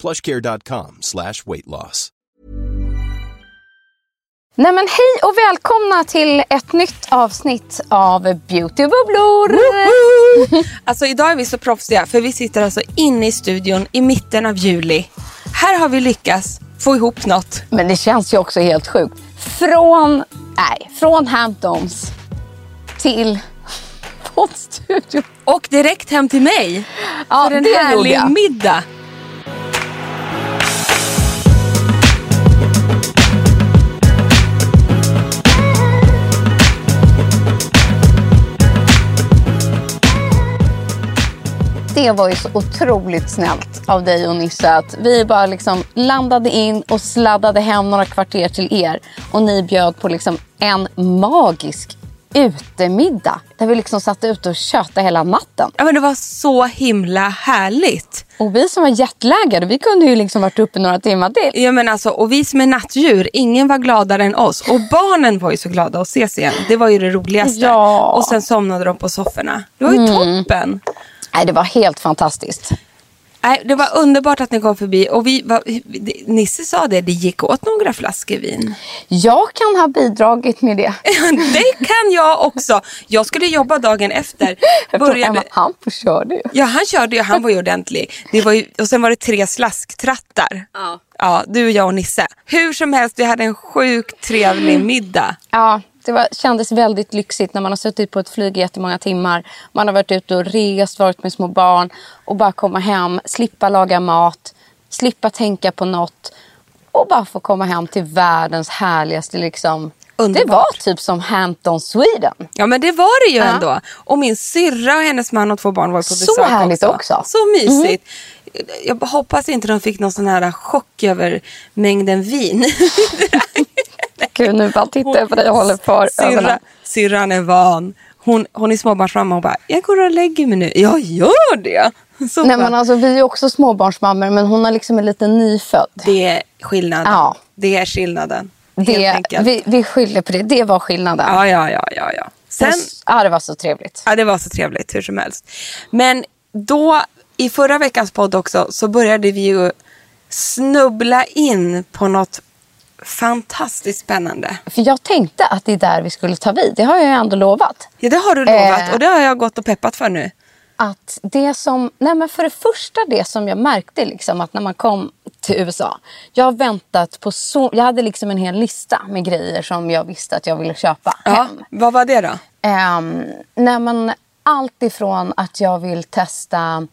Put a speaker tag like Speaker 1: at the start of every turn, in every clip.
Speaker 1: plushcare.com slash weight loss.
Speaker 2: Nej men hej och välkomna till ett nytt avsnitt av Beautybubblor!
Speaker 3: Alltså idag är vi så proffsiga för vi sitter alltså inne i studion i mitten av juli. Här har vi lyckats få ihop något.
Speaker 2: Men det känns ju också helt sjukt. Från, nej, från Hamptons till poddstudion.
Speaker 3: Och direkt hem till mig
Speaker 2: Ja,
Speaker 3: för en
Speaker 2: det gjorde
Speaker 3: härlig
Speaker 2: jag.
Speaker 3: middag.
Speaker 2: Det var ju så otroligt snällt av dig och Nisse att vi bara liksom landade in och sladdade hem några kvarter till er och ni bjöd på liksom en magisk utemiddag där vi liksom satt ute och tjötade hela natten.
Speaker 3: Ja men det var så himla härligt.
Speaker 2: Och vi som var jetlaggade, vi kunde ju liksom varit uppe några timmar till.
Speaker 3: Ja, men alltså, och vi som är nattdjur, ingen var gladare än oss. Och barnen var ju så glada att ses igen. Det var ju det roligaste.
Speaker 2: Ja. Mm.
Speaker 3: Och sen somnade de på sofforna. Det var ju toppen.
Speaker 2: Nej, det var helt fantastiskt.
Speaker 3: Nej, det var underbart att ni kom förbi. Och vi var, det- Nisse sa det, det gick åt några flaskor vin.
Speaker 2: Jag kan ha bidragit med det.
Speaker 3: det kan jag också. Jag skulle jobba dagen efter. Började,
Speaker 2: Började... Han körde ju.
Speaker 3: ja, han körde ju, han var ju ordentlig. Det var ju, och sen var det tre slasktrattar. Ja. ja, du, jag och Nisse. Hur som helst, vi hade en sjukt
Speaker 2: Mm.
Speaker 3: trevlig middag.
Speaker 2: Ja, det var, kändes väldigt lyxigt när man har suttit på ett flyg i jättemånga timmar. Man har varit ute och rest, varit med små barn och bara komma hem, slippa laga mat, slippa tänka på något och bara få komma hem till världens härligaste liksom.
Speaker 3: Underbart.
Speaker 2: Det var typ som Hampton Sweden.
Speaker 3: Ja men det var det ju
Speaker 2: Ja.
Speaker 3: ändå. Och min syrra och hennes man och två barn var på
Speaker 2: Så
Speaker 3: besök
Speaker 2: härligt
Speaker 3: också.
Speaker 2: också. Mm.
Speaker 3: Så mysigt. Jag hoppas inte de fick någon sån här chock över mängden vin.
Speaker 2: Gud, nu bara tittar jag på dig och håller för ögonen.
Speaker 3: Syrra, syrran är van. Hon, hon är småbarnsmamma och bara, jag går och lägger mig nu. Jag gör det. Så
Speaker 2: Nej,
Speaker 3: bara,
Speaker 2: men alltså, vi är också småbarnsmammor men hon har liksom en liten nyfödd.
Speaker 3: Det är skillnaden.
Speaker 2: Ja.
Speaker 3: Det är skillnaden. Helt
Speaker 2: Det,
Speaker 3: enkelt.
Speaker 2: vi, vi skyller på det. Det var skillnaden.
Speaker 3: Ja, ja, ja, ja, ja. Sen,
Speaker 2: ja, det var så trevligt.
Speaker 3: ja, det var så trevligt hur som helst. Men då, i förra veckans podd också, så började vi ju snubbla in på något fantastiskt spännande.
Speaker 2: För jag tänkte att det är där vi skulle ta vid. Det har jag ju ändå lovat.
Speaker 3: Ja, det har du lovat
Speaker 2: Eh.
Speaker 3: och det har jag gått och peppat för nu.
Speaker 2: Att det som, nej men för det första det som jag märkte liksom att när man kom till USA. Jag har väntat på så, jag hade liksom en hel lista med grejer som jag visste att jag ville köpa
Speaker 3: Ja,
Speaker 2: hem.
Speaker 3: vad var det då?
Speaker 2: Ehm, nej men allt ifrån att jag vill testa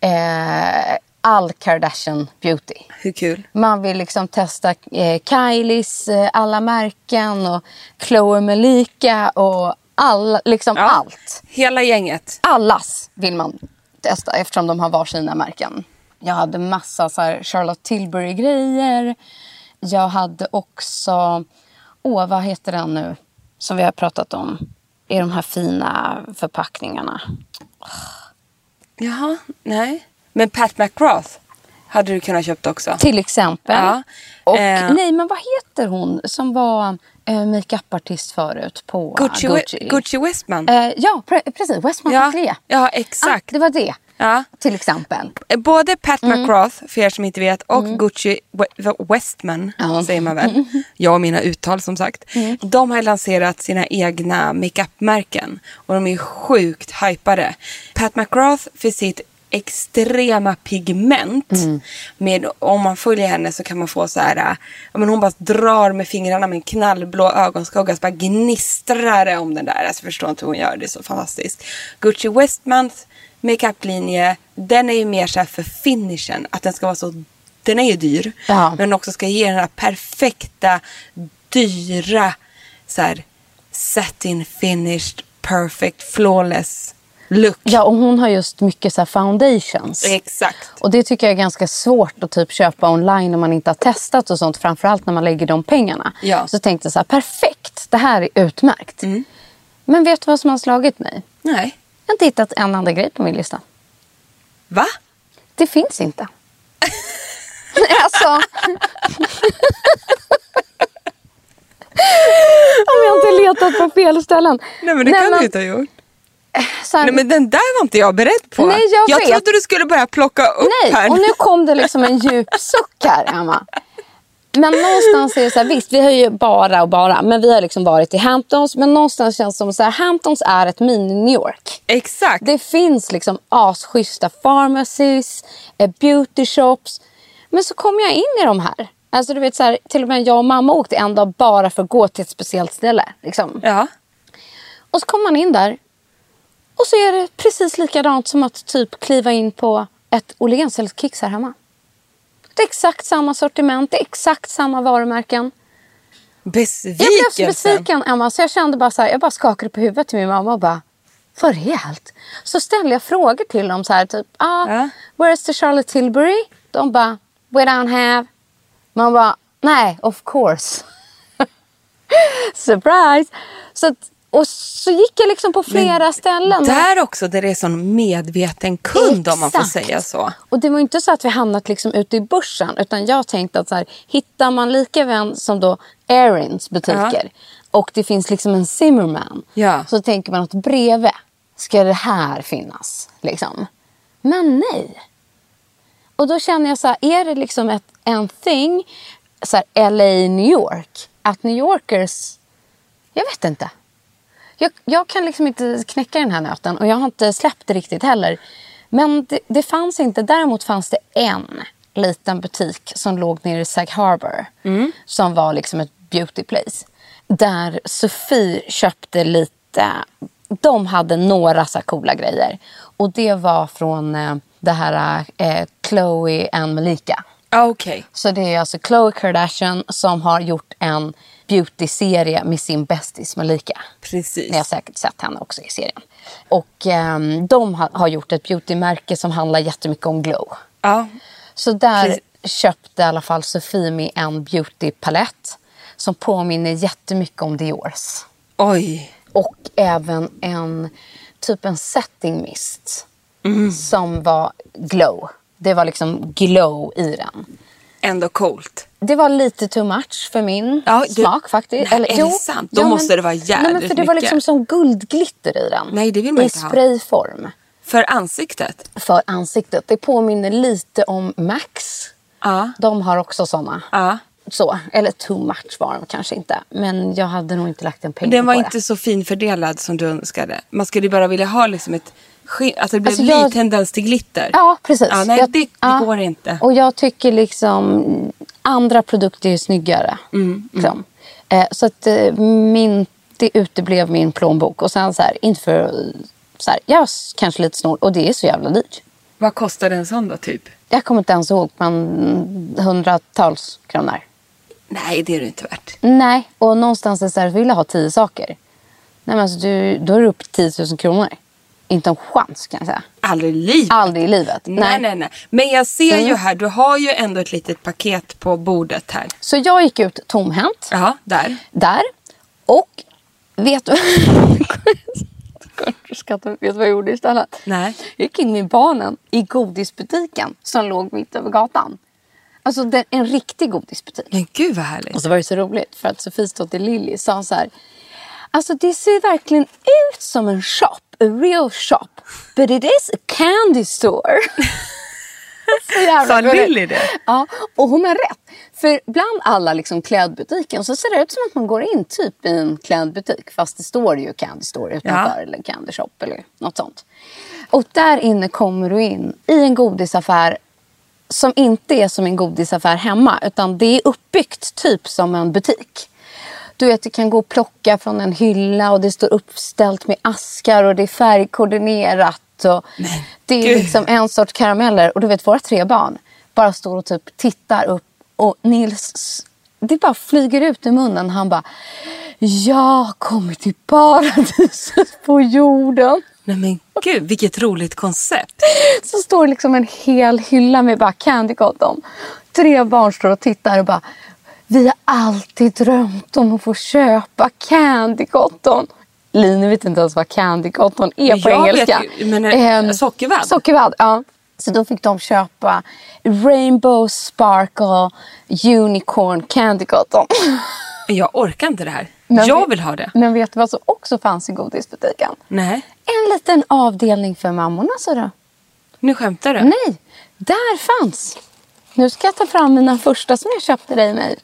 Speaker 2: eh, all Kardashian beauty.
Speaker 3: Hur kul?
Speaker 2: Man vill liksom testa eh, Kylies eh, alla märken och Chloe Melika och all, liksom
Speaker 3: Ja.
Speaker 2: allt.
Speaker 3: Hela gänget.
Speaker 2: Allas vill man testa eftersom de har var sina märken. Jag hade massa så här Charlotte Tilbury-grejer. Jag hade också... Åh, vad heter den nu som vi har pratat om? I de här fina förpackningarna.
Speaker 3: Jaha, nej. Men Pat McGrath. hade du kunnat köpt också.
Speaker 2: Till exempel.
Speaker 3: Ja.
Speaker 2: Och,
Speaker 3: Eh.
Speaker 2: Nej, men vad heter hon som var eh, makeup-artist förut på
Speaker 3: Gucci,
Speaker 2: Gucci?
Speaker 3: Gucci. Gucci Westman.
Speaker 2: Eh, ja, pre- precis. Westman
Speaker 3: ja,
Speaker 2: Atelier.
Speaker 3: ja,
Speaker 2: Ah,
Speaker 3: exakt.
Speaker 2: det var det,
Speaker 3: ja.
Speaker 2: till exempel.
Speaker 3: Eh, Både Pat
Speaker 2: mm.
Speaker 3: McGrath, för er som inte vet, och Gucci We- Westman,
Speaker 2: Ja.
Speaker 3: säger man väl. Jag och mina uttal som sagt. De har lanserat sina egna makeup-märken och de är sjukt hypade. Pat McGrath för sitt extrema pigment. Med, om man följer henne så kan man få så här, äh, ja, men hon bara drar med fingrarna med en knallblå ögonskugga så bara gnistrar det om den där. Alltså förstår inte hur hon gör det, det är så fantastiskt. Gucci Westmans makeuplinje, den är ju mer så här för finishen. Att den ska vara så, den är ju dyr.
Speaker 2: Ja.
Speaker 3: Men också ska ge den här perfekta, dyra, så här satin finished, perfect, flawless look.
Speaker 2: Ja, och hon har just mycket så här foundations.
Speaker 3: Exakt.
Speaker 2: Och det tycker jag är ganska svårt att typ köpa online om man inte har testat och sånt. Framförallt när man lägger de pengarna.
Speaker 3: Ja. Mm.
Speaker 2: Så tänkte jag så här, perfekt, det här är utmärkt. Men vet du vad som har slagit mig?
Speaker 3: Nej.
Speaker 2: Jag har inte hittat en enda grej på min lista.
Speaker 3: Va?
Speaker 2: Det finns inte. alltså... Om jag inte letat på fel ställen.
Speaker 3: Nej men det kan du inte ha gjort.
Speaker 2: så här-
Speaker 3: Nej men den där var inte jag beredd på.
Speaker 2: Nej, jag vet.
Speaker 3: trodde du skulle börja plocka upp
Speaker 2: Nej,
Speaker 3: här.
Speaker 2: och nu kom det liksom en djup suck här, Emma. Men någonstans är det så här, visst vi har ju bara och bara, men vi har liksom varit i Hamptons. Men någonstans känns det som så här, Hamptons är ett mini-New York.
Speaker 3: Exakt.
Speaker 2: Det finns liksom asschyssta pharmacies, eh, beauty shops. Men så kommer jag in i de här. Alltså du vet så här, till och med jag och mamma åkte en dag bara för att gå till ett speciellt ställe. Liksom.
Speaker 3: Ja.
Speaker 2: Och så kommer man in där och så är det precis likadant som att typ kliva in på ett Åhléns eller ett Kicks här hemma. Det är exakt samma sortiment, det är exakt samma varumärken.
Speaker 3: Besvikelsen.
Speaker 2: Jag blev så besviken Emma så jag kände bara så här, jag bara skakade på huvudet till min mamma och bara vad rejält. Så ställde jag frågor till dem så här typ, ah,
Speaker 3: Ja.
Speaker 2: where's the Charlotte Tilbury? De bara, we don't have. Man bara, nej, of course. Surprise! Så att, och så gick jag liksom på flera ställen.
Speaker 3: Där också där det är sån medveten kund om man får
Speaker 2: Exakt.
Speaker 3: säga så.
Speaker 2: Och det var ju inte så att vi hamnat liksom ute i börsen utan jag tänkte att så här, hittar man lika vän som då Erins butiker och det finns liksom en Zimmerman
Speaker 3: Ja.
Speaker 2: så tänker man att bredvid ska det här finnas. Liksom. Men nej. Och då känner jag så här, är det liksom ett, en thing, så här, LA, New York, att New Yorkers, jag vet inte. Jag, jag kan liksom inte knäcka den här nöten och jag har inte släppt det riktigt heller. Men det, det fanns inte. Däremot fanns det en liten butik som låg nere i Sag Harbor. Som var liksom ett beauty place. Där Sofie köpte lite. De hade några så här coola grejer. Och det var från eh, det här eh, Chloe and Malika.
Speaker 3: Ja, Okej.
Speaker 2: Så det är alltså Khloe Kardashian som har gjort en beauty-serie med sin bästis Malika.
Speaker 3: Precis.
Speaker 2: Ni har säkert sett henne också i serien. Och ehm, de har, har gjort ett beautymärke som handlar jättemycket om glow.
Speaker 3: Ja.
Speaker 2: Så där
Speaker 3: Precis.
Speaker 2: köpte i alla fall Sofie mig en beautypalett som påminner jättemycket om Diors.
Speaker 3: Oj.
Speaker 2: Och även en typ en setting mist som var glow. Det var liksom glow i den.
Speaker 3: Ändå coolt.
Speaker 2: Det var lite too much för min
Speaker 3: Ja, du-
Speaker 2: smak faktiskt.
Speaker 3: Nej, är det sant? Då måste det vara
Speaker 2: nej, men
Speaker 3: jädrigt
Speaker 2: för Det var
Speaker 3: mycket.
Speaker 2: liksom som guldglitter i den.
Speaker 3: Nej, det vill man
Speaker 2: I
Speaker 3: inte ha.
Speaker 2: sprayform
Speaker 3: För ansiktet.
Speaker 2: för ansiktet. Det påminner lite om Max.
Speaker 3: Ja.
Speaker 2: De har också såna.
Speaker 3: Ja.
Speaker 2: Så, eller too much var de kanske inte. Men jag hade nog inte lagt en peng
Speaker 3: Den var
Speaker 2: på
Speaker 3: inte
Speaker 2: det.
Speaker 3: så finfördelad som du önskade. Man skulle ju bara vilja ha liksom ett skin, att det blev
Speaker 2: Alltså, jag-
Speaker 3: lite tendens till glitter.
Speaker 2: Ja, precis.
Speaker 3: Ja, nej,
Speaker 2: Jag-
Speaker 3: det, det
Speaker 2: ja.
Speaker 3: går inte.
Speaker 2: Och jag tycker liksom andra produkter är snyggare.
Speaker 3: Mm,
Speaker 2: Liksom. Eh, så att eh, min, det uteblev min plånbok. Och sen så här, inte för så här, jag är s- kanske lite snål och det är så jävla dyrt.
Speaker 3: Vad kostar en sån då typ?
Speaker 2: Jag kommer inte ens ihåg, men hundratals kronor.
Speaker 3: Nej, det är det inte värt.
Speaker 2: Nej, och någonstans är det så här, vill jag ha tio saker. Nej men alltså du, då är det upp till 10 000 kronor. Inte en chans kan jag säga.
Speaker 3: Aldrig i livet.
Speaker 2: Aldrig i livet.
Speaker 3: Nej, nej, nej. Men jag ser
Speaker 2: Mm.
Speaker 3: ju här, du har ju ändå ett litet paket på bordet här.
Speaker 2: Så jag gick ut tomhänt.
Speaker 3: Ja, där.
Speaker 2: där. Och vet du... du ska katten. Vet du vad jag gjorde istället?
Speaker 3: Nej.
Speaker 2: Jag gick in med barnen i godisbutiken som låg mitt över gatan. Alltså den, en riktig godisbutik.
Speaker 3: Men gud vad härligt.
Speaker 2: Och så var det så roligt för att Sofies dotter Lilly sa så här. Alltså det ser verkligen ut som en shop. A real shop. But it is a candy store. så jävla
Speaker 3: Sa
Speaker 2: gulligt.
Speaker 3: Lilly det?
Speaker 2: Ja, och hon har rätt. För bland alla liksom klädbutiker så ser det ut som att man går in typ i en klädbutik. Fast det står ju candy store utanför.
Speaker 3: Ja.
Speaker 2: Eller candy shop eller något sånt. Och där inne kommer du in i en godisaffär som inte är som en godisaffär hemma utan det är uppbyggt typ som en butik. Du vet, du kan gå och plocka från en hylla och det står uppställt med askar och det är färgkoordinerat. Och det är
Speaker 3: gud.
Speaker 2: liksom en sorts karameller. Och du vet, våra tre barn bara står och typ tittar upp och Nils, det bara flyger ut ur munnen. Han bara, jag kommer till paradiset på jorden.
Speaker 3: Nej men gud, vilket roligt koncept.
Speaker 2: Så står liksom en hel hylla med bara Candy Cotton. Tre barn står och tittar och bara Vi har alltid drömt om att få köpa Candy Cotton. Lina vet inte ens vad Candy Cotton är
Speaker 3: Men
Speaker 2: på
Speaker 3: jag vet
Speaker 2: engelska. Ehm,
Speaker 3: ju, men, eh, sockervadd.
Speaker 2: Sockervadd, ja. Så då fick de köpa Rainbow Sparkle Unicorn Candy Cotton.
Speaker 3: Men Jag orkar inte det här.
Speaker 2: Men
Speaker 3: jag
Speaker 2: vet-
Speaker 3: vill ha det.
Speaker 2: Men vet du vad som också fanns i godisbutiken?
Speaker 3: Nej,
Speaker 2: En liten avdelning för mammorna sa du.
Speaker 3: nu skämtar du.
Speaker 2: Nej, där fanns. Nu ska jag ta fram mina första som jag köpte dig mig.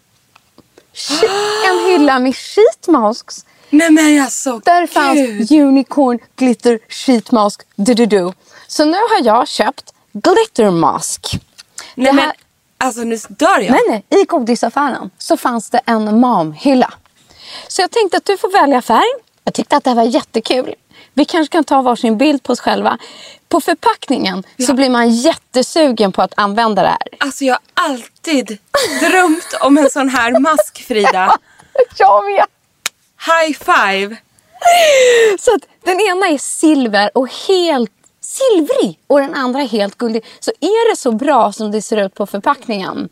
Speaker 2: Shit, En hylla med sheet masks.
Speaker 3: Nej men alltså
Speaker 2: Där fanns
Speaker 3: gud.
Speaker 2: unicorn glitter sheet mask. Du, du, du. Så nu har jag köpt glitter mask.
Speaker 3: Nej
Speaker 2: det
Speaker 3: men
Speaker 2: här-
Speaker 3: alltså nu dör jag.
Speaker 2: Nej, nej. I godisaffären så fanns det en mamhylla. Så jag tänkte att du får välja färg. Jag tyckte att det här var jättekul. Vi kanske kan ta varsin bild på oss själva. På förpackningen så blir man jättesugen på att använda det här.
Speaker 3: Alltså jag har alltid drömt om en sån här mask Frida.
Speaker 2: Jag vet!
Speaker 3: High five.
Speaker 2: Så att den ena är silver och helt silvrig och den andra är helt guldig. Så är det så bra som det ser ut på förpackningen?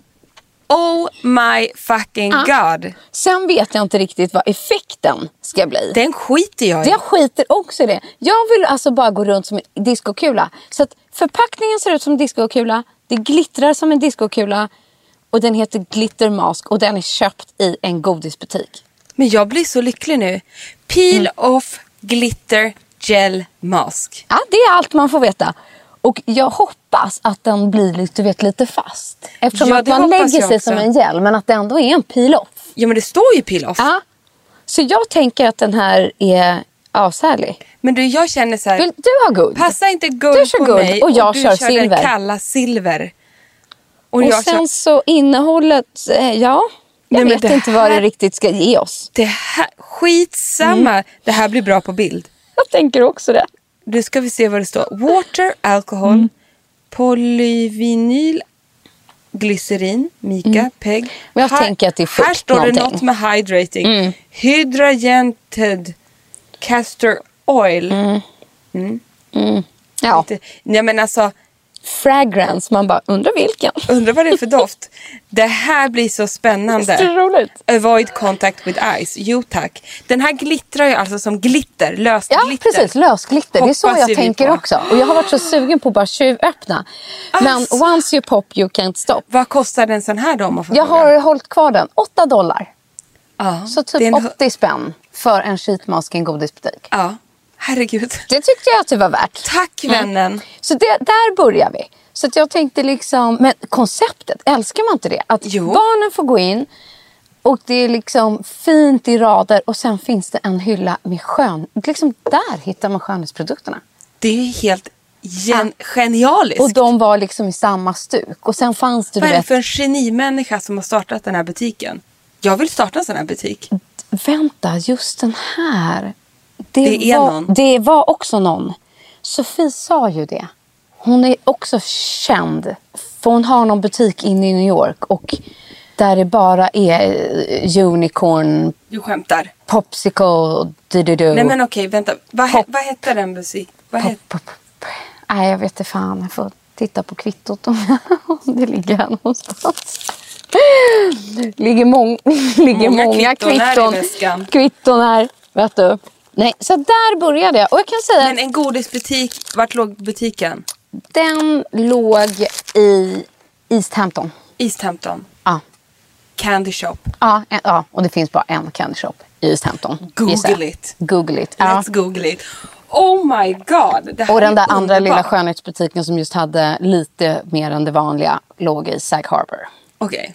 Speaker 3: Oh my fucking god.
Speaker 2: Sen vet jag inte riktigt vad effekten ska bli.
Speaker 3: Den skiter jag i.
Speaker 2: Jag skiter också i det. Jag vill alltså bara gå runt som en diskokula. Så att förpackningen ser ut som en diskokula, det glittrar som en diskokula och den heter Glitter Mask och den är köpt i en godisbutik.
Speaker 3: Men jag blir så lycklig nu. Peel
Speaker 2: Mm.
Speaker 3: off glitter gel mask.
Speaker 2: Ja, det är allt man får veta. Och jag hoppas att den blir lite, du vet, lite fast. Eftersom
Speaker 3: Ja,
Speaker 2: att
Speaker 3: det
Speaker 2: man
Speaker 3: hoppas
Speaker 2: lägger sig
Speaker 3: jag också.
Speaker 2: som en gel men att det ändå är en peel-off.
Speaker 3: Ja men det står ju peel off.
Speaker 2: Ja. Så jag tänker att den här är avsärlig.
Speaker 3: Men du jag känner så här.
Speaker 2: Vill du ha guld?
Speaker 3: Passa inte
Speaker 2: Du
Speaker 3: guld
Speaker 2: kör
Speaker 3: på
Speaker 2: guld
Speaker 3: mig
Speaker 2: och jag
Speaker 3: du
Speaker 2: kör silver.
Speaker 3: den kalla silver. Och,
Speaker 2: Och,
Speaker 3: jag
Speaker 2: sen
Speaker 3: kör...
Speaker 2: så innehållet, eh, ja. Jag
Speaker 3: Nej, men
Speaker 2: vet
Speaker 3: det
Speaker 2: inte vad det
Speaker 3: här-
Speaker 2: riktigt ska ge oss.
Speaker 3: Det här... Skitsamma.
Speaker 2: Mm.
Speaker 3: Det här blir bra på bild.
Speaker 2: Jag tänker också det.
Speaker 3: Nu ska vi se vad det står. Water, alkohol,
Speaker 2: Mm.
Speaker 3: polyvinyl, glycerin, mika, PEG.
Speaker 2: Mm. Men jag tänker att det är
Speaker 3: Här
Speaker 2: fukt
Speaker 3: står det
Speaker 2: någonting. Mm.
Speaker 3: något med hydrating. Hydragented castor oil.
Speaker 2: Mm. Ja.
Speaker 3: Det- Nej men alltså,
Speaker 2: Fragrance, man bara undrar vilken.
Speaker 3: undrar vad det är för doft. Det här blir så
Speaker 2: Det är
Speaker 3: spännande.
Speaker 2: roligt.
Speaker 3: Avoid contact with eyes. Jo tack. Den här glittrar ju alltså som glitter, löst
Speaker 2: Ja,
Speaker 3: glitter.
Speaker 2: precis. Lösglitter. Det är så
Speaker 3: Hoppas ju
Speaker 2: jag
Speaker 3: vi
Speaker 2: tänker
Speaker 3: på.
Speaker 2: också. Och jag har varit så sugen på att bara tjuvöppna. Men
Speaker 3: Alltså.
Speaker 2: once you pop you can't stop.
Speaker 3: Vad kostar en sån här då om man får
Speaker 2: Jag
Speaker 3: fråga?
Speaker 2: har hållit kvar den. 8 dollar.
Speaker 3: Ja,
Speaker 2: Så
Speaker 3: det är
Speaker 2: typ
Speaker 3: en-
Speaker 2: 80 spänn för en sheetmask i en godisbutik.
Speaker 3: Ja, herregud. Mm.
Speaker 2: Det tyckte jag att det var värt.
Speaker 3: Ah. Tack vännen.
Speaker 2: Så det, där börjar vi. Så att jag tänkte liksom, men konceptet, älskar man inte det? Att
Speaker 3: Jo.
Speaker 2: barnen får gå in och det är liksom fint i rader och sen finns det en hylla med skön... Liksom där hittar man skönhetsprodukterna.
Speaker 3: Det är ju helt gen- genialiskt.
Speaker 2: Och de var liksom i samma stuk. Och sen fanns det, du
Speaker 3: Vad är det
Speaker 2: vet,
Speaker 3: för en genimänniska som har startat den här butiken? Jag vill starta en sån här butik.
Speaker 2: vänta, just den här.
Speaker 3: Det är
Speaker 2: var,
Speaker 3: någon.
Speaker 2: Det var också någon. Sofie sa ju det. Hon är också känd. För hon har någon butik inne i New York och där det bara är eh, unicorn,
Speaker 3: Du skämtar.
Speaker 2: popsicle och du-du-du.
Speaker 3: Nej men okej, vänta. Vad, he-
Speaker 2: Pop.
Speaker 3: vad hette den butik? Vad
Speaker 2: Pop,
Speaker 3: hette?
Speaker 2: pop, pop. Nej, jag vet inte fan. Jag får titta på kvittot om, om det ligger här någonstans. ligger, mång, ligger
Speaker 3: Många
Speaker 2: många,
Speaker 3: kvitton här i
Speaker 2: kvitton,
Speaker 3: väskan.
Speaker 2: kvitton här. Vet du? Nej, så där började jag. Och jag kan säga
Speaker 3: Men en godisbutik, vart låg butiken?
Speaker 2: att den låg i East Hampton.
Speaker 3: East Hampton.
Speaker 2: Ja,
Speaker 3: Candy shop.
Speaker 2: ja, en, ja. och det finns bara en candy shop i East Hampton.
Speaker 3: Google
Speaker 2: gissar jag.
Speaker 3: it.
Speaker 2: Google it. Ja.
Speaker 3: Let's google it. Oh my god. Det här
Speaker 2: Och
Speaker 3: är
Speaker 2: den där andra
Speaker 3: underbart.
Speaker 2: lilla skönhetsbutiken som just hade lite mer än det vanliga låg i Sag Harbor.
Speaker 3: Okej.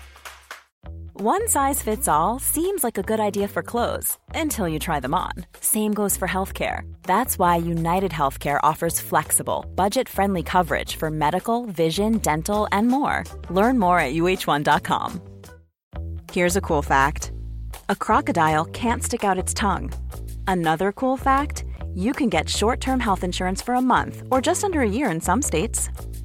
Speaker 4: One size fits all seems like a good idea for clothes until you try them on. Same goes for healthcare. That's why United Healthcare offers flexible, budget friendly coverage for medical, vision, dental, and more. Learn more at uh1.com. Here's a cool fact a crocodile can't stick out its tongue. Another cool fact you can get short term health insurance for a month or just under a year in some states.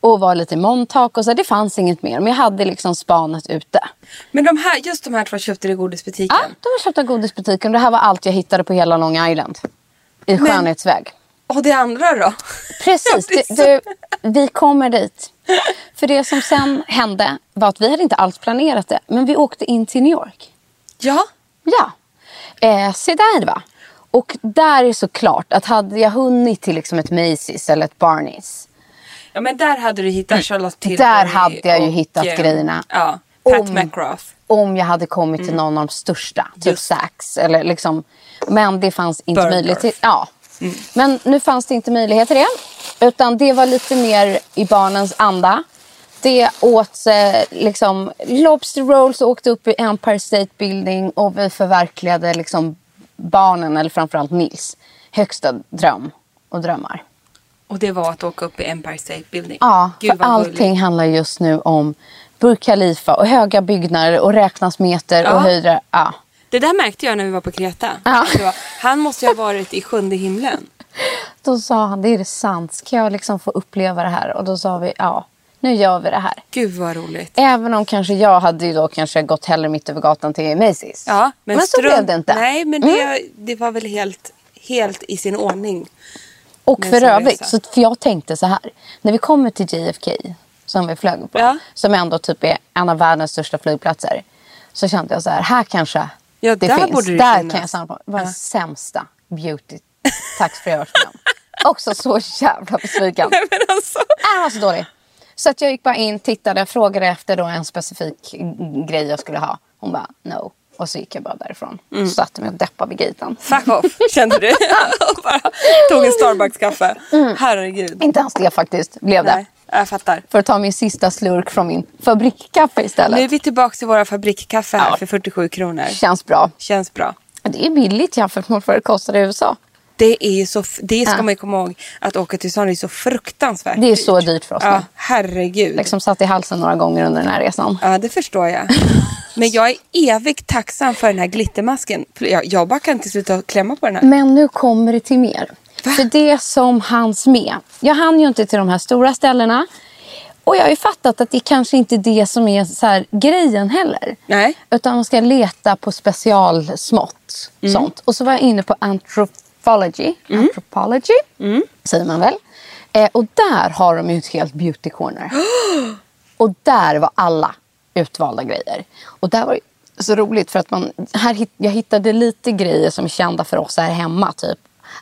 Speaker 2: och var lite i Montauk och så. Det fanns inget mer. Men jag hade liksom spanet ute.
Speaker 3: Men de här, just de här två köpte du i godisbutiken.
Speaker 2: Ja, de har köpt av godisbutiken och det här var allt jag hittade på hela Long Island. I skönhetsväg.
Speaker 3: Och det andra då?
Speaker 2: Precis.
Speaker 3: Det är
Speaker 2: Du,
Speaker 3: så-
Speaker 2: du, vi kommer dit. För det som sen hände var att vi hade inte alls planerat det. Men vi åkte in till New York.
Speaker 3: Ja.
Speaker 2: Ja. Eh, se där va. Och där är såklart att hade jag hunnit till liksom ett Macy's eller ett Barney's.
Speaker 3: ja, men där hade du hittat Charlotte Tilbury.
Speaker 2: Mm. Där hade jag ju
Speaker 3: och,
Speaker 2: hittat
Speaker 3: eh,
Speaker 2: grejerna.
Speaker 3: Ja, Pat
Speaker 2: Om-
Speaker 3: McGrath. Mm.
Speaker 2: Om jag hade kommit till någon av de största. Typ
Speaker 3: Just.
Speaker 2: Saks. Eller liksom, men det fanns inte
Speaker 3: Bergdorf.
Speaker 2: möjlighet. Ja.
Speaker 3: Mm.
Speaker 2: Men nu fanns det inte möjlighet till det. Utan det var lite mer i barnens anda. Det åt eh, liksom, lobster rolls och åkte upp i Empire State Building. Och vi förverkligade liksom, barnen, eller framförallt Nils, högsta dröm och drömmar.
Speaker 3: Och det var att åka upp i Empire State Building.
Speaker 2: Ja,
Speaker 3: Gud,
Speaker 2: för
Speaker 3: vad
Speaker 2: allting
Speaker 3: gulligt.
Speaker 2: handlar just nu om Burj Khalifa och höga byggnader och räknas meter
Speaker 3: Ja.
Speaker 2: och höjder. Ja.
Speaker 3: Det där märkte jag när vi var på Kreta.
Speaker 2: Ja.
Speaker 3: Det var, han måste ju ha varit i sjunde himlen.
Speaker 2: Då sa han, det är det sant? Ska jag liksom få uppleva det här? Och då sa vi, ja, nu gör vi det här.
Speaker 3: Gud vad roligt.
Speaker 2: Även om kanske jag hade ju då kanske gått hellre mitt över gatan till Macy's.
Speaker 3: Ja, men
Speaker 2: men så
Speaker 3: strunt-
Speaker 2: blev det inte.
Speaker 3: Nej, men
Speaker 2: Mm.
Speaker 3: det, det var väl helt, helt i sin ordning.
Speaker 2: Och
Speaker 3: Men
Speaker 2: för
Speaker 3: så
Speaker 2: övrigt,
Speaker 3: resa.
Speaker 2: så, för jag tänkte så här. När vi kommer till JFK, som vi flög på,
Speaker 3: Ja.
Speaker 2: som ändå typ är en av världens största flygplatser. Så kände jag så här, här kanske
Speaker 3: Ja,
Speaker 2: det
Speaker 3: där
Speaker 2: finns.
Speaker 3: borde det
Speaker 2: där
Speaker 3: finnas.
Speaker 2: kan jag samla på Det var
Speaker 3: Ja.
Speaker 2: den sämsta beauty tax free jag varit med om. Också så jävla besviken.
Speaker 3: Nej, men alltså.
Speaker 2: Äh, den var så dålig. Så att jag gick bara in, tittade, frågade efter då en specifik grej jag skulle ha. Hon bara no. Och så gick jag bara därifrån.
Speaker 3: Mm.
Speaker 2: Satte mig och deppade vid gaten.
Speaker 3: Fuck off, kände du. Och bara tog en Starbucks-kaffe. Herregud.
Speaker 2: Mm. Inte ens det faktiskt blev det.
Speaker 3: Nej, jag fattar.
Speaker 2: för att ta min sista slurk från min fabrikskaffe istället.
Speaker 3: Nu är vi tillbaka till våra fabrikkaffe här
Speaker 2: Ja.
Speaker 3: för 47 kronor.
Speaker 2: Känns bra.
Speaker 3: Känns bra.
Speaker 2: Det är billigt jämfört med vad det kostar i USA.
Speaker 3: Det, är ju så, f- det ska
Speaker 2: Ja.
Speaker 3: man ju komma ihåg, att åka till USA det är så fruktansvärt
Speaker 2: Det är så dyrt för oss
Speaker 3: Ja,
Speaker 2: nu.
Speaker 3: herregud.
Speaker 2: Liksom satt i halsen några gånger under den här resan.
Speaker 3: Ja, det förstår jag. Men jag är evigt tacksam för den här glittermasken. För Jag, jag bara kan inte sluta klämma på den här.
Speaker 2: Men nu kommer det till mer. För det som hanns med. Jag hann ju inte till de här stora ställena. Och jag har ju fattat att det kanske inte är det som är så här grejen heller.
Speaker 3: Nej.
Speaker 2: Utan man ska leta på specialsmått. Sånt. Och så var jag inne på anthropology. Anthropology säger man väl. Eh, och där har de ju ett helt beauty corner. Och där var alla utvalda grejer. Och där var det så roligt för att man, här, hitt- jag hittade lite grejer som är kända för oss här hemma. Typ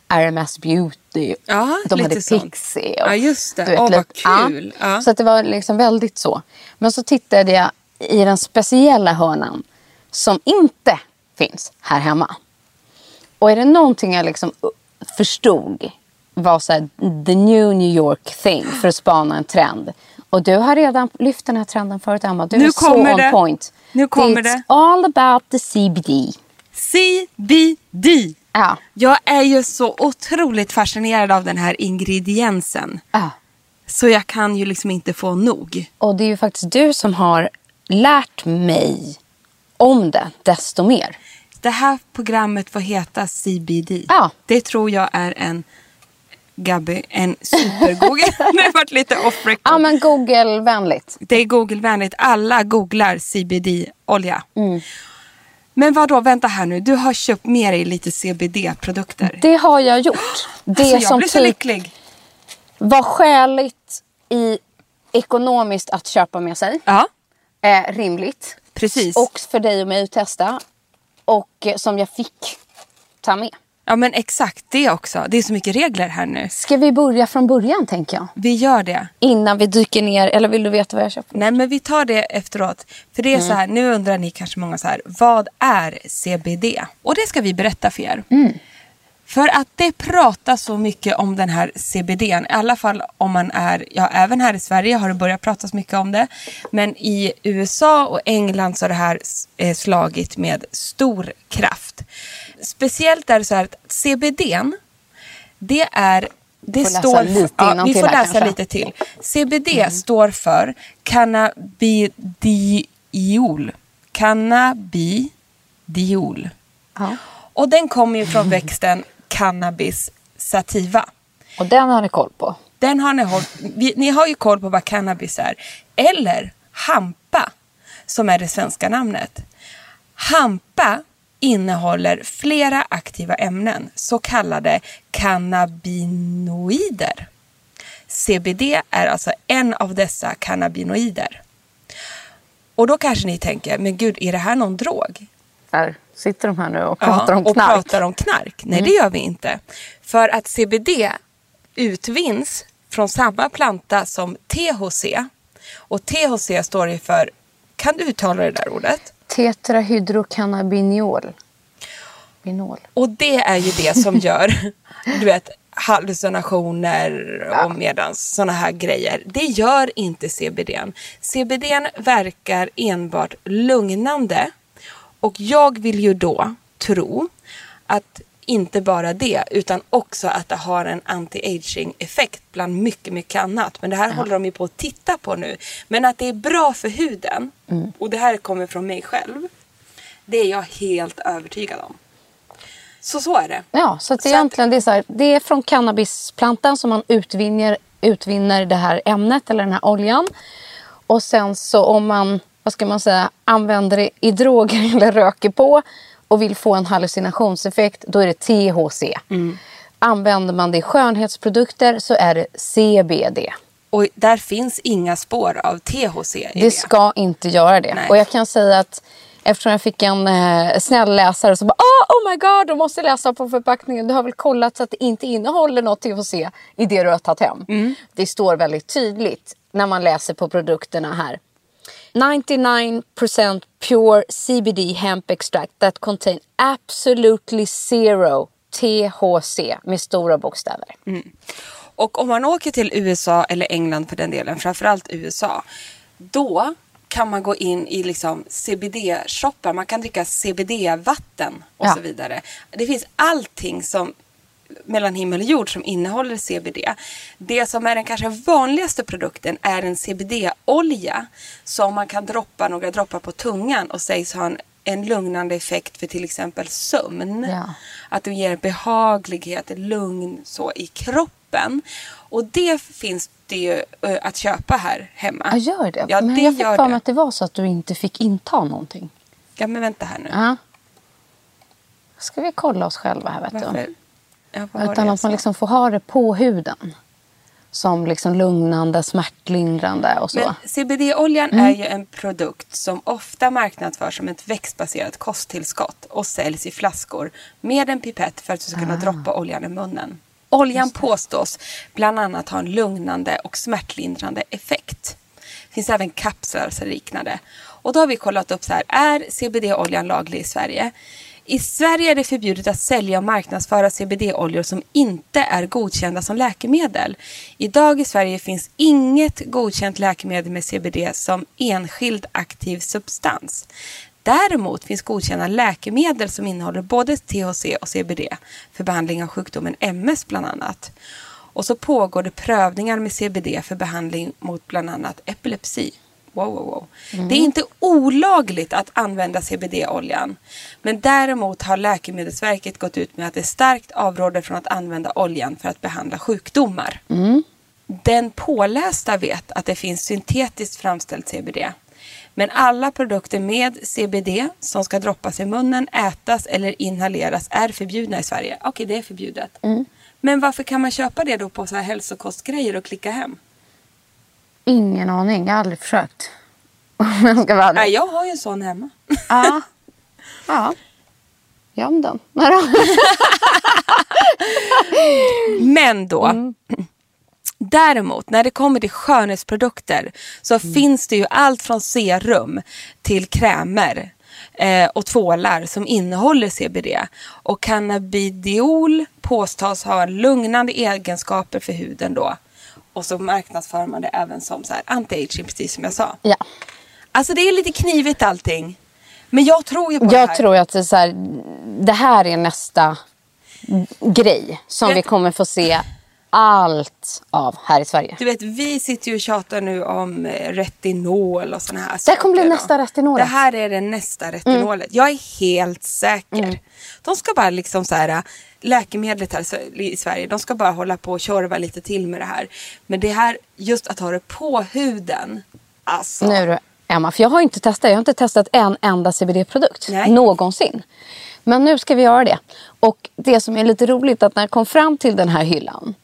Speaker 2: RMS Beauty.
Speaker 3: Ja,
Speaker 2: de hade
Speaker 3: lite sånt.
Speaker 2: Pixie.
Speaker 3: Ja, just det.
Speaker 2: du vet,
Speaker 3: Åh, vad
Speaker 2: lite-
Speaker 3: kul.
Speaker 2: Ja.
Speaker 3: Ja.
Speaker 2: Så att det var liksom väldigt så. Men så tittade jag i den speciella hörnan som inte finns här hemma. Och är det någonting jag liksom förstod var så här, the new New York thing för att spana en trend. Och du har redan lyft den här trenden förut Emma. Du
Speaker 3: Nu
Speaker 2: är så
Speaker 3: kommer
Speaker 2: on
Speaker 3: det.
Speaker 2: point.
Speaker 3: Nu kommer
Speaker 2: It's
Speaker 3: det.
Speaker 2: all about the CBD.
Speaker 3: CBD.
Speaker 2: Ja.
Speaker 3: Jag är ju så otroligt fascinerad av den här ingrediensen.
Speaker 2: ja.
Speaker 3: Så jag kan ju liksom inte få nog.
Speaker 2: Och det är ju faktiskt du som har lärt mig om det desto mer.
Speaker 3: Det här programmet får heta CBD.
Speaker 2: Ja.
Speaker 3: Det tror jag är en, Gabby, en supergoogle. det har varit lite off record.
Speaker 2: Ja men Google-vänligt.
Speaker 3: Det är Google-vänligt. Alla googlar CBD-olja.
Speaker 2: Mm.
Speaker 3: Men vad då? vänta här nu. Du har köpt med dig lite CBD-produkter.
Speaker 2: Det har jag gjort. Det
Speaker 3: alltså, jag
Speaker 2: som
Speaker 3: blir så
Speaker 2: typ
Speaker 3: lycklig.
Speaker 2: var skäligt i ekonomiskt att köpa med sig.
Speaker 3: Ja,
Speaker 2: Eh, rimligt.
Speaker 3: precis.
Speaker 2: Och för dig och mig att testa. Och eh, som jag fick ta med.
Speaker 3: Ja, men exakt det också. Det är så mycket regler här nu.
Speaker 2: Ska vi börja från början tänker jag?
Speaker 3: Vi gör det.
Speaker 2: Innan vi dyker ner. Eller vill du veta vad jag köpte?
Speaker 3: Nej, men vi tar det efteråt. För det är så här, nu undrar ni kanske många så här, vad är CBD? Och det ska vi berätta för er. För att det pratas så mycket om den här CBD, i alla fall om man är, ja även här i Sverige har det börjat pratas mycket om det. Men i USA och England så har det här s- eh, slagit med stor kraft. Speciellt är det så här att CBD, n, det är det
Speaker 2: Får läsa
Speaker 3: står
Speaker 2: lite
Speaker 3: ja, vi
Speaker 2: innantill
Speaker 3: får
Speaker 2: här
Speaker 3: läsa
Speaker 2: kanske. Mm.
Speaker 3: lite till. CBD står för cannabidiol. Cannabidiol.
Speaker 2: Ja.
Speaker 3: Och den kommer ju från växten cannabis sativa.
Speaker 2: Och den har ni koll på.
Speaker 3: Den har ni, håll, vi, ni har ju koll på vad cannabis är. Eller hampa, som är det svenska namnet. Hampa innehåller flera aktiva ämnen, så kallade cannabinoider. CBD är alltså en av dessa cannabinoider. Och då kanske ni tänker, men gud, är det här någon drog?
Speaker 2: Där sitter de här nu och
Speaker 3: Ja, och pratar om knark. Mm. Nej, det gör vi inte. För att CBD utvinns från samma planta som THC. Och THC står ju för, kan du uttala det där ordet?
Speaker 2: Tetrahydrocannabinol. Binol.
Speaker 3: Och det är ju det som gör, du vet, hallucinationer och medans sådana här grejer. Det gör inte CBDn. CBDn verkar enbart lugnande. Och jag vill ju då tro att inte bara det, utan också att det har en anti-aging effekt bland mycket, mycket annat. Men det här håller de ju på att titta på nu. Men att det är bra för huden, och det här kommer från mig själv, det är jag helt övertygad om. Så så är det.
Speaker 2: Ja, så, att det, är
Speaker 3: Så att-
Speaker 2: egentligen, det, är så här, det är från cannabisplantan som man utvinner, utvinner det här ämnet eller den här oljan. Och sen så om man vad ska man säga, använder det i droger eller röker på och vill få en hallucinationseffekt, då är det THC. Använder man det i skönhetsprodukter så är det CBD.
Speaker 3: Och där finns inga spår av THC i det.
Speaker 2: Det ska inte göra det.
Speaker 3: Nej.
Speaker 2: Och jag kan säga att eftersom jag fick en eh, snäll läsare som bara oh, oh my god, du måste läsa på förpackningen. Du har väl kollat så att det inte innehåller något THC i det du har tagit hem.
Speaker 3: Mm.
Speaker 2: Det står väldigt tydligt när man läser på produkterna här. 99% pure CBD hemp extract that contain absolutely zero THC med stora bokstäver.
Speaker 3: Mm. Och om man åker till USA eller England på den delen, framförallt USA, då kan man gå in i liksom CBD-shoppar. Man kan dricka CBD-vatten och
Speaker 2: Ja.
Speaker 3: så vidare. Det finns allting som mellan himmel och jord som innehåller CBD. Det som är den kanske vanligaste produkten är en CBD-olja som man kan droppa några droppar på tungan och sägs ha en, en lugnande effekt för till exempel sömn.
Speaker 2: Ja.
Speaker 3: Att det ger behaglighet, lugn så i kroppen. Och det finns det ju eh, att köpa här hemma.
Speaker 2: Ja, gör det.
Speaker 3: Ja,
Speaker 2: Men
Speaker 3: det
Speaker 2: jag fick
Speaker 3: gör
Speaker 2: för mig
Speaker 3: det.
Speaker 2: att det var så att du inte fick inta någonting.
Speaker 3: Ja, men vänta här nu.
Speaker 2: Ja. Ska vi kolla oss själva här vet
Speaker 3: Varför?
Speaker 2: du.
Speaker 3: Ja, vad var det
Speaker 2: Utan
Speaker 3: jag
Speaker 2: att man
Speaker 3: sa?
Speaker 2: liksom får ha det på huden. som liksom lugnande, smärtlindrande och så.
Speaker 3: Men CBD-oljan är ju en produkt som ofta marknadsförs som ett växtbaserat kosttillskott och säljs i flaskor med en pipett för att du ska kunna droppa oljan i munnen. Oljan påstås bland annat ha en lugnande och smärtlindrande effekt. Det finns även kapslar som liknande. Och då har vi kollat upp så här, är CBD-oljan laglig i Sverige? I Sverige är det förbjudet att sälja och marknadsföra CBD-oljor som inte är godkända som läkemedel. Idag i Sverige finns inget godkänt läkemedel med CBD som enskild aktiv substans. Däremot finns godkända läkemedel som innehåller både THC och CBD för behandling av sjukdomen MS bland annat. Och så pågår det prövningar med CBD för behandling mot bland annat epilepsi. Wow, wow, wow. Det är inte olagligt att använda CBD-oljan. Men däremot har Läkemedelsverket gått ut med att det starkt avråder från att använda oljan för att behandla sjukdomar. Den pålästa vet att det finns syntetiskt framställt CBD. Men alla produkter med CBD som ska droppas i munnen, ätas eller inhaleras är förbjudna i Sverige. Okej, det är förbjudet. Men varför kan man köpa det då på så här hälsokostgrejer och klicka hem?
Speaker 2: Ingen aning, jag har aldrig försökt. Om jag ska vara ärlig.
Speaker 3: Nej, jag har ju en sån hemma.
Speaker 2: Ja. ja. Göm den. Nej då.
Speaker 3: Men då. Däremot när det kommer till skönhetsprodukter så finns det ju allt från serum till krämer eh, och tvålar som innehåller CBD. Och cannabidiol påstås ha lugnande egenskaper för huden då. Och så marknadsför man det även som så här anti-aging precis som jag sa.
Speaker 2: Ja.
Speaker 3: Alltså det är lite knivigt allting. Men jag tror ju på det
Speaker 2: Jag
Speaker 3: här.
Speaker 2: tror att det, är så här, det här är nästa grej som vi kommer få se allt av här i Sverige.
Speaker 3: Du vet, vi sitter ju och tjatar nu om eh, retinol och såna här
Speaker 2: Det här kommer bli
Speaker 3: saker då.
Speaker 2: nästa retinolet. Mm.
Speaker 3: Det här är det nästa retinolet. Jag är helt säker. De ska bara liksom så här, läkemedlet här i Sve- i Sverige, de ska bara hålla på och tjorva lite till med det här. Men det här, just att ha det på huden. Alltså,
Speaker 2: Nu du, Emma, för jag har inte testat. Jag har inte testat en enda CBD-produkt
Speaker 3: Nej.
Speaker 2: någonsin. Men nu ska vi göra det. Och det som är lite roligt är att när jag kom fram till den här hyllan.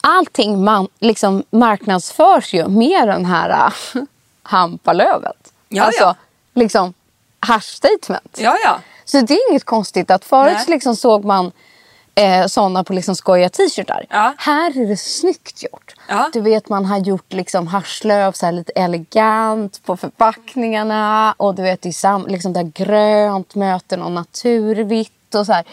Speaker 2: Allting man, liksom, marknadsförs ju med den här äh, hampalövet.
Speaker 3: Ja,
Speaker 2: alltså,
Speaker 3: ja.
Speaker 2: liksom hash statement.
Speaker 3: ja ja.
Speaker 2: Så det är inget konstigt att förut
Speaker 3: Nej.
Speaker 2: liksom såg man eh, sådana på liksom skojiga t-shirtar.
Speaker 3: Ja.
Speaker 2: Här är det snyggt gjort.
Speaker 3: Ja.
Speaker 2: Du vet man har gjort liksom haschlöv så här lite elegant på förpackningarna och du vet i sam, liksom där grönt möter någon naturvitt och så här.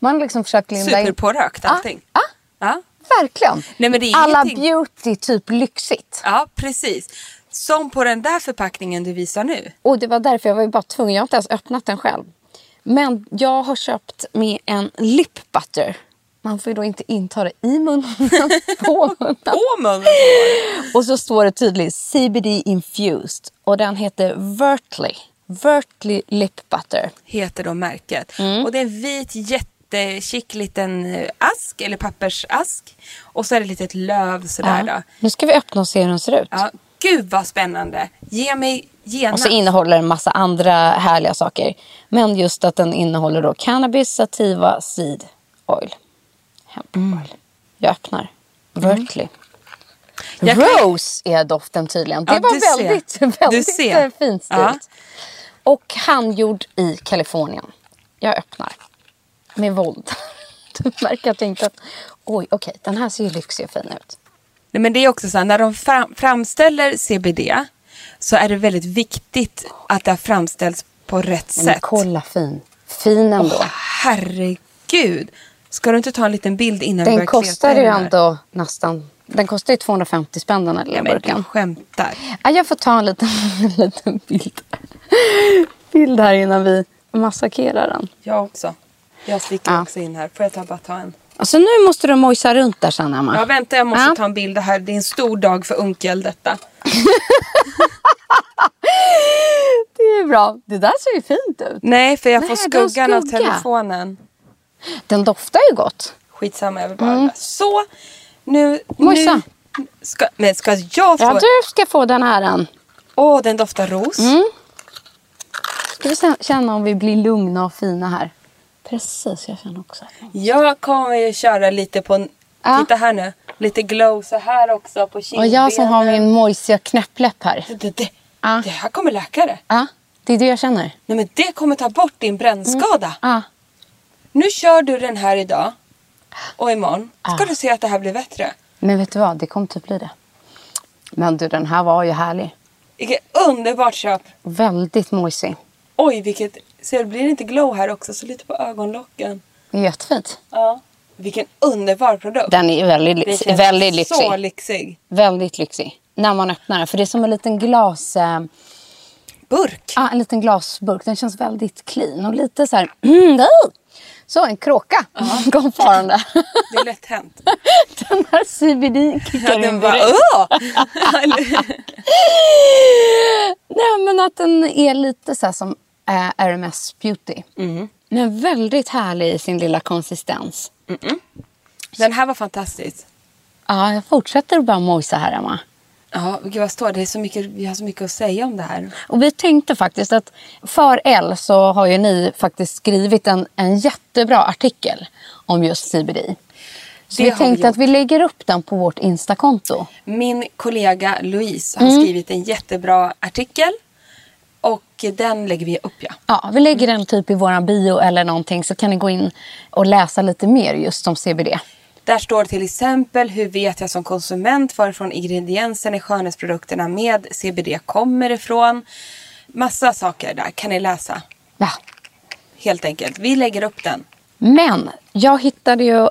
Speaker 2: Man har liksom försökt linda in.
Speaker 3: Superpårökt allting.
Speaker 2: Ja,
Speaker 3: Ja.
Speaker 2: verkligen.
Speaker 3: Nej, men det är
Speaker 2: Alla
Speaker 3: ingenting-
Speaker 2: beauty typ lyxigt.
Speaker 3: ja, precis. Som på den där förpackningen du visar nu.
Speaker 2: Och det var därför jag var ju bara tvungen. Jag har inte ens öppnat den själv. Men jag har köpt med en lip butter. Man får ju då inte inta det i munnen. på munnen.
Speaker 3: På munnen!
Speaker 2: Och så står det tydligt CBD infused. Och den heter Vertly. Vertly lip butter.
Speaker 3: heter då märket.
Speaker 2: Mm.
Speaker 3: Och det är en vit jättechick liten eh, ask eller pappersask. Och så är det ett litet löv sådär
Speaker 2: Ja.
Speaker 3: då.
Speaker 2: Nu ska vi öppna och se hur den ser ut.
Speaker 3: Ja, gud vad spännande. Ge mig
Speaker 2: Och
Speaker 3: genast.
Speaker 2: så innehåller den massa andra härliga saker. Men just att den innehåller då cannabis, sativa, seed oil. Hemp
Speaker 3: Mm.
Speaker 2: oil. Jag öppnar. Vertly.
Speaker 3: Jag kan-
Speaker 2: Rose är doften tydligen. Det
Speaker 3: Ja, du
Speaker 2: var
Speaker 3: ser.
Speaker 2: väldigt,
Speaker 3: Du
Speaker 2: väldigt
Speaker 3: ser.
Speaker 2: eh, fint stilt.
Speaker 3: Ja.
Speaker 2: Och handgjord i Kalifornien. Jag öppnar. Med våld. Du märker att jag inte... Oj, okej. Den här ser ju lyxig och fin ut.
Speaker 3: Nej, men det är också så här, när de fram- framställer CBD så är det väldigt viktigt att det har framställts på rätt
Speaker 2: Nej, Men
Speaker 3: sätt.
Speaker 2: kolla fin. Fin ändå.
Speaker 3: Herregud. Ska du inte ta en liten bild innan vi
Speaker 2: Den
Speaker 3: börjar kleta
Speaker 2: kostar
Speaker 3: i
Speaker 2: ju
Speaker 3: den här?
Speaker 2: ändå nästan... Den kostar ju 250 spänn den här lilla
Speaker 3: Nej, men du
Speaker 2: burken.
Speaker 3: skämtar.
Speaker 2: Ja, jag får ta en liten, en liten bild. bild här innan vi massakrerar den.
Speaker 3: Jag också. Jag sticker
Speaker 2: Ja.
Speaker 3: också in här. Får jag ta, bara ta en?
Speaker 2: Alltså nu måste du mojsa runt där sen Emma.
Speaker 3: Ja, vänta, jag måste
Speaker 2: Ah. Ja.
Speaker 3: ta en bild här. Det är en stor dag för onkel detta.
Speaker 2: Det är bra. Det där ser ju fint ut.
Speaker 3: Nej, för jag
Speaker 2: Nej,
Speaker 3: får
Speaker 2: du har
Speaker 3: skuggan av
Speaker 2: skugga.
Speaker 3: telefonen.
Speaker 2: Den doftar ju gott.
Speaker 3: Skitsamma, jag vill bara... Så, nu...
Speaker 2: Mm. Mojsa.
Speaker 3: nu ska, men ska jag få...
Speaker 2: Ja, du Mm. ska få den här. Än.
Speaker 3: Åh, den doftar ros.
Speaker 2: Ska vi sen- känna om vi blir lugna och fina här. Precis, jag känner också.
Speaker 3: Jag kommer ju köra lite på... en-
Speaker 2: Ja.
Speaker 3: Titta här nu. Lite glow så här också på kindbenen.
Speaker 2: Och jag som har min moisiga knäppläpp här.
Speaker 3: Det, det,
Speaker 2: Ja.
Speaker 3: det här kommer läkare.
Speaker 2: Ja, det är det jag känner.
Speaker 3: Nej men det kommer ta bort din brännskada.
Speaker 2: Ja.
Speaker 3: Nu kör du den här idag och imorgon. Ska du se att det här blir bättre.
Speaker 2: Men vet du vad, det kommer typ bli det. Men du, den här var ju härlig.
Speaker 3: Vilket underbart köp.
Speaker 2: Väldigt moisig.
Speaker 3: Oj, vilket... Ser du, blir det inte glow här också? Så lite på ögonlocken.
Speaker 2: Jättefint.
Speaker 3: Ja. Vilken underbar produkt.
Speaker 2: Den är väldigt,
Speaker 3: Den
Speaker 2: lyx-
Speaker 3: känns
Speaker 2: väldigt
Speaker 3: Så
Speaker 2: lyxig.
Speaker 3: lyxig.
Speaker 2: Väldigt lyxig. När man öppnar den. För det är som en liten glas... Eh,
Speaker 3: Burk.
Speaker 2: ah, en liten glasburk. Den känns väldigt clean och lite så här... så, en kråka kom farande.
Speaker 3: Det är lätt hänt.
Speaker 2: den här CBD
Speaker 3: Ja,
Speaker 2: kickar in
Speaker 3: den bara
Speaker 2: direkt.
Speaker 3: åh! Eller-
Speaker 2: Nej, men att den är lite så här som eh, RMS Beauty.
Speaker 3: Mm.
Speaker 2: Men väldigt härlig i sin lilla konsistens.
Speaker 3: den här var fantastisk.
Speaker 2: Ja, jag fortsätter att bara mojsa här, Emma.
Speaker 3: Ja, gud vad står det? det? Är så mycket, vi har så mycket att säga om det här.
Speaker 2: Och vi tänkte faktiskt att för L så har ju ni faktiskt skrivit en, en jättebra artikel om just CBD. Så
Speaker 3: Det
Speaker 2: vi
Speaker 3: har vi
Speaker 2: tänkte
Speaker 3: gjort.
Speaker 2: att vi lägger upp den på vårt Instakonto.
Speaker 3: Min kollega Louise
Speaker 2: Mm.
Speaker 3: har skrivit en jättebra artikel. Och den lägger vi upp ja.
Speaker 2: Ja, vi lägger den typ i våran bio eller någonting så kan ni gå in och läsa lite mer just om CBD.
Speaker 3: Där står till exempel hur vet jag som konsument varifrån ingrediensen i skönhetsprodukterna med CBD kommer ifrån. Massa saker där kan ni läsa
Speaker 2: Ja.
Speaker 3: helt enkelt. Vi lägger upp den.
Speaker 2: Men jag hittade ju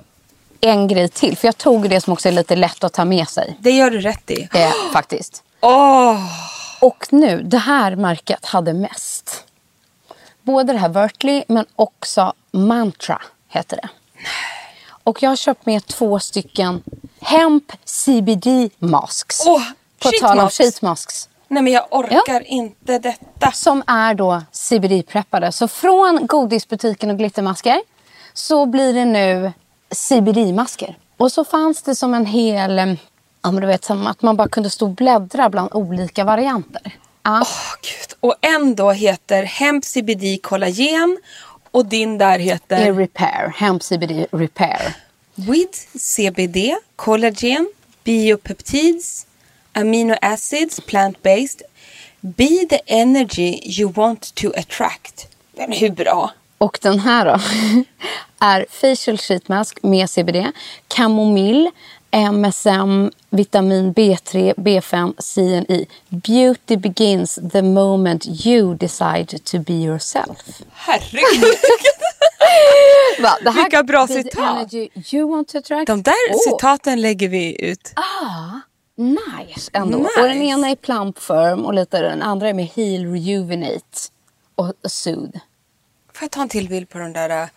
Speaker 2: en grej till för jag tog det som också är lite lätt att ta med sig.
Speaker 3: Det gör du rätt i.
Speaker 2: Eh, faktiskt.
Speaker 3: Åh!
Speaker 2: Och nu, det här märket hade mest. Både det här Vertly men också Mantra heter det. Och jag har köpt med två stycken Hemp CBD masks.
Speaker 3: Åh,
Speaker 2: på
Speaker 3: sheet
Speaker 2: tal om
Speaker 3: masks.
Speaker 2: sheet masks.
Speaker 3: Nej men jag orkar inte detta.
Speaker 2: Som är då CBD-preppade. Så från godisbutiken och glittermasker så blir det nu CBD-masker. Och så fanns det som en hel... eh, Ja, men du vet, som att man bara kunde stå och bläddra bland olika varianter. Ja.
Speaker 3: Åh, gud. Och en då heter Hemp CBD kollagen och din där
Speaker 2: är
Speaker 3: heter
Speaker 2: Eh, repair. Hemp CBD repair.
Speaker 3: With CBD, kollagen, biopeptides, amino acids, plant-based. Be the energy you want to attract. Men hur bra?
Speaker 2: Och den här då är facial sheet mask med CBD, kamomill, MSM, vitamin B3, B5, CNI. Beauty begins the moment you decide to be yourself.
Speaker 3: Herregud.
Speaker 2: Va, det
Speaker 3: Vilka bra
Speaker 2: Be the
Speaker 3: citat.
Speaker 2: energy you want to attract.
Speaker 3: De där
Speaker 2: Åh,
Speaker 3: citaten lägger vi ut.
Speaker 2: Nice ändå.
Speaker 3: Nice.
Speaker 2: Och den ena är plump firm och lite, den andra är med heal rejuvenate och soothe.
Speaker 3: Får jag ta en till bild på de där? äh?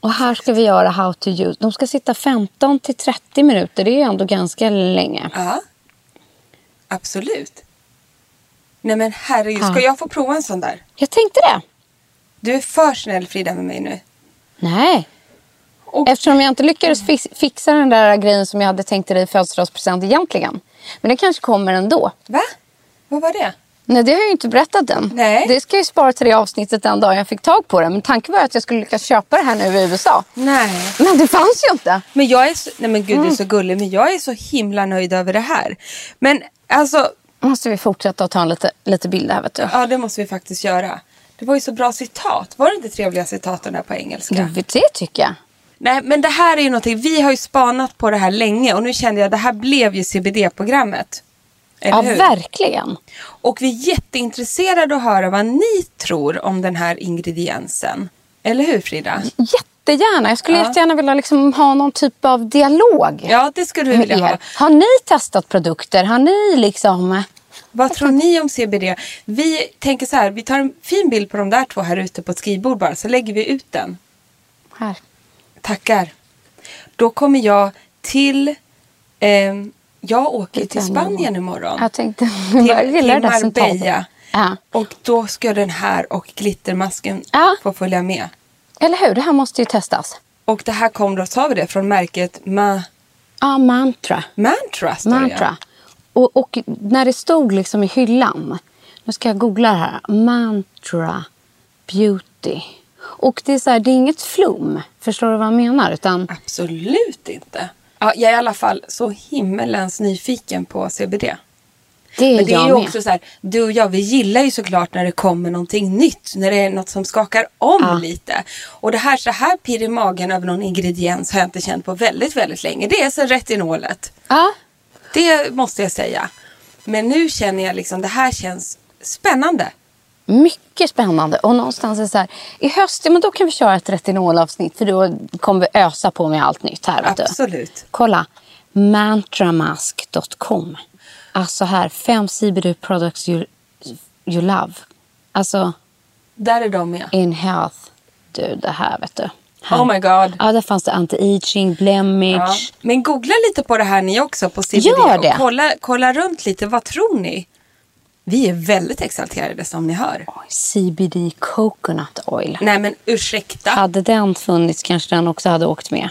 Speaker 2: Och här ska vi göra how to use. De ska sitta 15 till 30 minuter. Det är ju ändå ganska länge.
Speaker 3: Ja. Absolut. Nej men herregud, ska jag få prova en sån där?
Speaker 2: Jag tänkte det.
Speaker 3: Du är för snäll Frida med mig nu.
Speaker 2: Nej.
Speaker 3: Och-
Speaker 2: Eftersom jag inte lyckades fix- fixa den där grejen som jag hade tänkt till dig i födelsedagspresent egentligen. Men det kanske kommer ändå.
Speaker 3: Va? Vad var det?
Speaker 2: Nej, det har jag ju inte berättat än.
Speaker 3: Nej.
Speaker 2: Det ska jag ju spara till det avsnittet den dagen jag fick tag på det. Men tanken var ju att jag skulle lyckas köpa det här nu i USA.
Speaker 3: Nej.
Speaker 2: Men det fanns ju inte.
Speaker 3: Men jag är så, nej men gud du är så gullig, men jag är så himla nöjd över det här. Men alltså,
Speaker 2: Måste vi fortsätta att ta en lite, lite bilder här vet du.
Speaker 3: ja det måste vi faktiskt göra. Det var ju så bra citat. Var det inte trevliga citaten här på engelska?
Speaker 2: Du, det tycker jag.
Speaker 3: Nej, men det här är ju någonting. Vi har ju spanat på det här länge och nu kände jag att det här blev ju CBD-programmet. Eller
Speaker 2: Ja,
Speaker 3: hur?
Speaker 2: verkligen.
Speaker 3: Och vi är jätteintresserade att höra vad ni tror om den här ingrediensen. Eller hur Frida?
Speaker 2: Jättegärna. Jag skulle jättegärna vilja liksom ha någon typ av dialog
Speaker 3: Ja, det skulle du
Speaker 2: med
Speaker 3: vilja ha.
Speaker 2: er. Har ni testat produkter? Har ni liksom...
Speaker 3: Vad tror ni om CBD? Vi tänker så här, vi tar en fin bild på de där två här ute på ett skrivbord bara, så lägger vi ut den.
Speaker 2: Här.
Speaker 3: Tackar. Då kommer jag till... ehm, jag åker till
Speaker 2: Spanien.
Speaker 3: Spanien imorgon.
Speaker 2: Jag tänkte...
Speaker 3: till,
Speaker 2: jag gillar
Speaker 3: till
Speaker 2: det där citatet.
Speaker 3: Marbella.
Speaker 2: Ja.
Speaker 3: Och då ska den här och glittermasken
Speaker 2: Ja.
Speaker 3: få följa med.
Speaker 2: Eller hur? Det här måste ju testas.
Speaker 3: Och det här kom då, sa vi det, från märket Ma-
Speaker 2: Ja, mantra.
Speaker 3: Mantra. står det.
Speaker 2: Mantra. Och, och när det stod liksom i hyllan. Nu ska jag googla det här. Mantra beauty. Och det är, så här, det är inget flum. Förstår du vad jag menar? Utan
Speaker 3: Absolut inte. Ja, jag är i alla fall så himmelens nyfiken på CBD.
Speaker 2: Det är
Speaker 3: Men det är
Speaker 2: jag
Speaker 3: ju
Speaker 2: med.
Speaker 3: också så här, du och jag vi gillar ju såklart när det kommer någonting nytt, när det är något som skakar om lite. Och det här så här pirr i magen över någon ingrediens har jag inte känt på väldigt, väldigt länge. Det är så retinolet.
Speaker 2: Ja.
Speaker 3: Det måste jag säga. Men nu känner jag liksom, det här känns spännande.
Speaker 2: Mycket spännande. Och någonstans är det så här, i höst, ja, men då kan vi köra ett retinolavsnitt för då kommer vi ösa på med allt nytt här. Vet du.
Speaker 3: Absolut.
Speaker 2: Kolla, mantramask.com. Alltså här, fem CBD products you, you love. Alltså,
Speaker 3: Där är de med.
Speaker 2: in health. Du, det här vet du. Här.
Speaker 3: Oh my god.
Speaker 2: Ja, där fanns det anti-aging,
Speaker 3: Ja.
Speaker 2: blemish.
Speaker 3: Men googla lite på det här ni också på CBD
Speaker 2: Gör det.
Speaker 3: och kolla, kolla runt lite. Vad tror ni? Vi är väldigt exalterade som ni hör.
Speaker 2: Oj, CBD coconut oil.
Speaker 3: Nej men ursäkta.
Speaker 2: Hade den funnits kanske den också hade åkt med.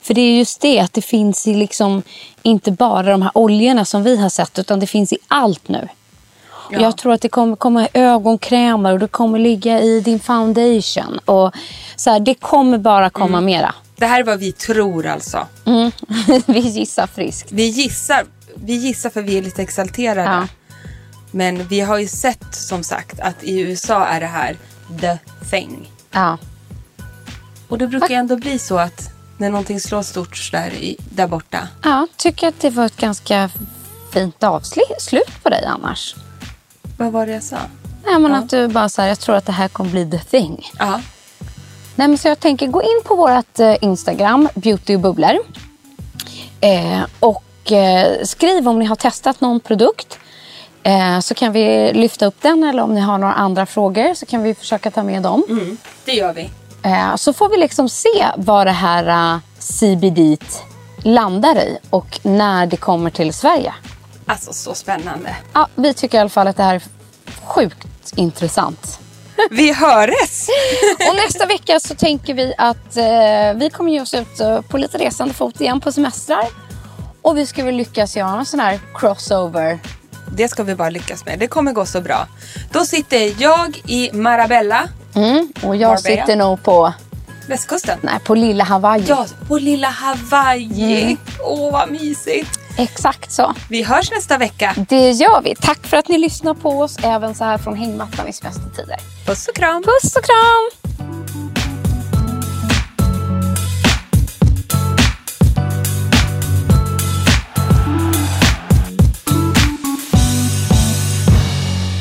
Speaker 2: För det är just det att det finns i liksom inte bara de här oljorna som vi har sett utan det finns i allt nu.
Speaker 3: Ja.
Speaker 2: Jag tror att det kommer komma ögonkrämer och det kommer ligga i din foundation. Och så här, det kommer bara komma mera. Mm.
Speaker 3: Det här är vad vi tror alltså.
Speaker 2: Vi gissar friskt.
Speaker 3: Vi gissar, vi gissar för vi är lite exalterade.
Speaker 2: Ja.
Speaker 3: Men vi har ju sett som sagt att i USA är det här the thing.
Speaker 2: Ja.
Speaker 3: Och det brukar ju ändå bli så att när någonting slår stort sådär i, där borta.
Speaker 2: ja, tycker att det var ett ganska fint avslut på dig annars.
Speaker 3: Vad var det jag sa?
Speaker 2: Nej, men att du bara så här, jag tror att det här kommer bli the thing.
Speaker 3: Ja.
Speaker 2: Nej, men så jag tänker gå in på vårt eh, Instagram, beauty och bubblor. Eh, och eh, skriv om ni har testat någon produkt. Eh, så kan vi lyfta upp den eller om ni har några andra frågor så kan vi försöka ta med dem.
Speaker 3: Det gör vi.
Speaker 2: Eh, så får vi liksom se vad det här eh, CBD landar i och när det kommer till Sverige.
Speaker 3: Alltså så spännande.
Speaker 2: Ja, vi tycker i alla fall att det här är sjukt intressant.
Speaker 3: Vi höres!
Speaker 2: Och nästa vecka så tänker vi att eh, vi kommer ge oss ut eh, på lite resande fot igen på semestrar. Och vi ska väl lyckas göra en sån här crossover.
Speaker 3: Det ska vi bara lyckas med. Det kommer gå så bra. Då sitter jag i Marabella,
Speaker 2: Och jag
Speaker 3: Marbella.
Speaker 2: sitter nog på,
Speaker 3: västkusten.
Speaker 2: nej, på lilla Hawaii.
Speaker 3: Ja, på lilla Hawaii.
Speaker 2: Mm.
Speaker 3: Åh, vad mysigt.
Speaker 2: Exakt så.
Speaker 3: Vi hörs nästa vecka.
Speaker 2: Det gör vi. Tack för att ni lyssnar på oss även så här från hängmattan i semestertider.
Speaker 3: Puss och kram.
Speaker 2: Puss och kram!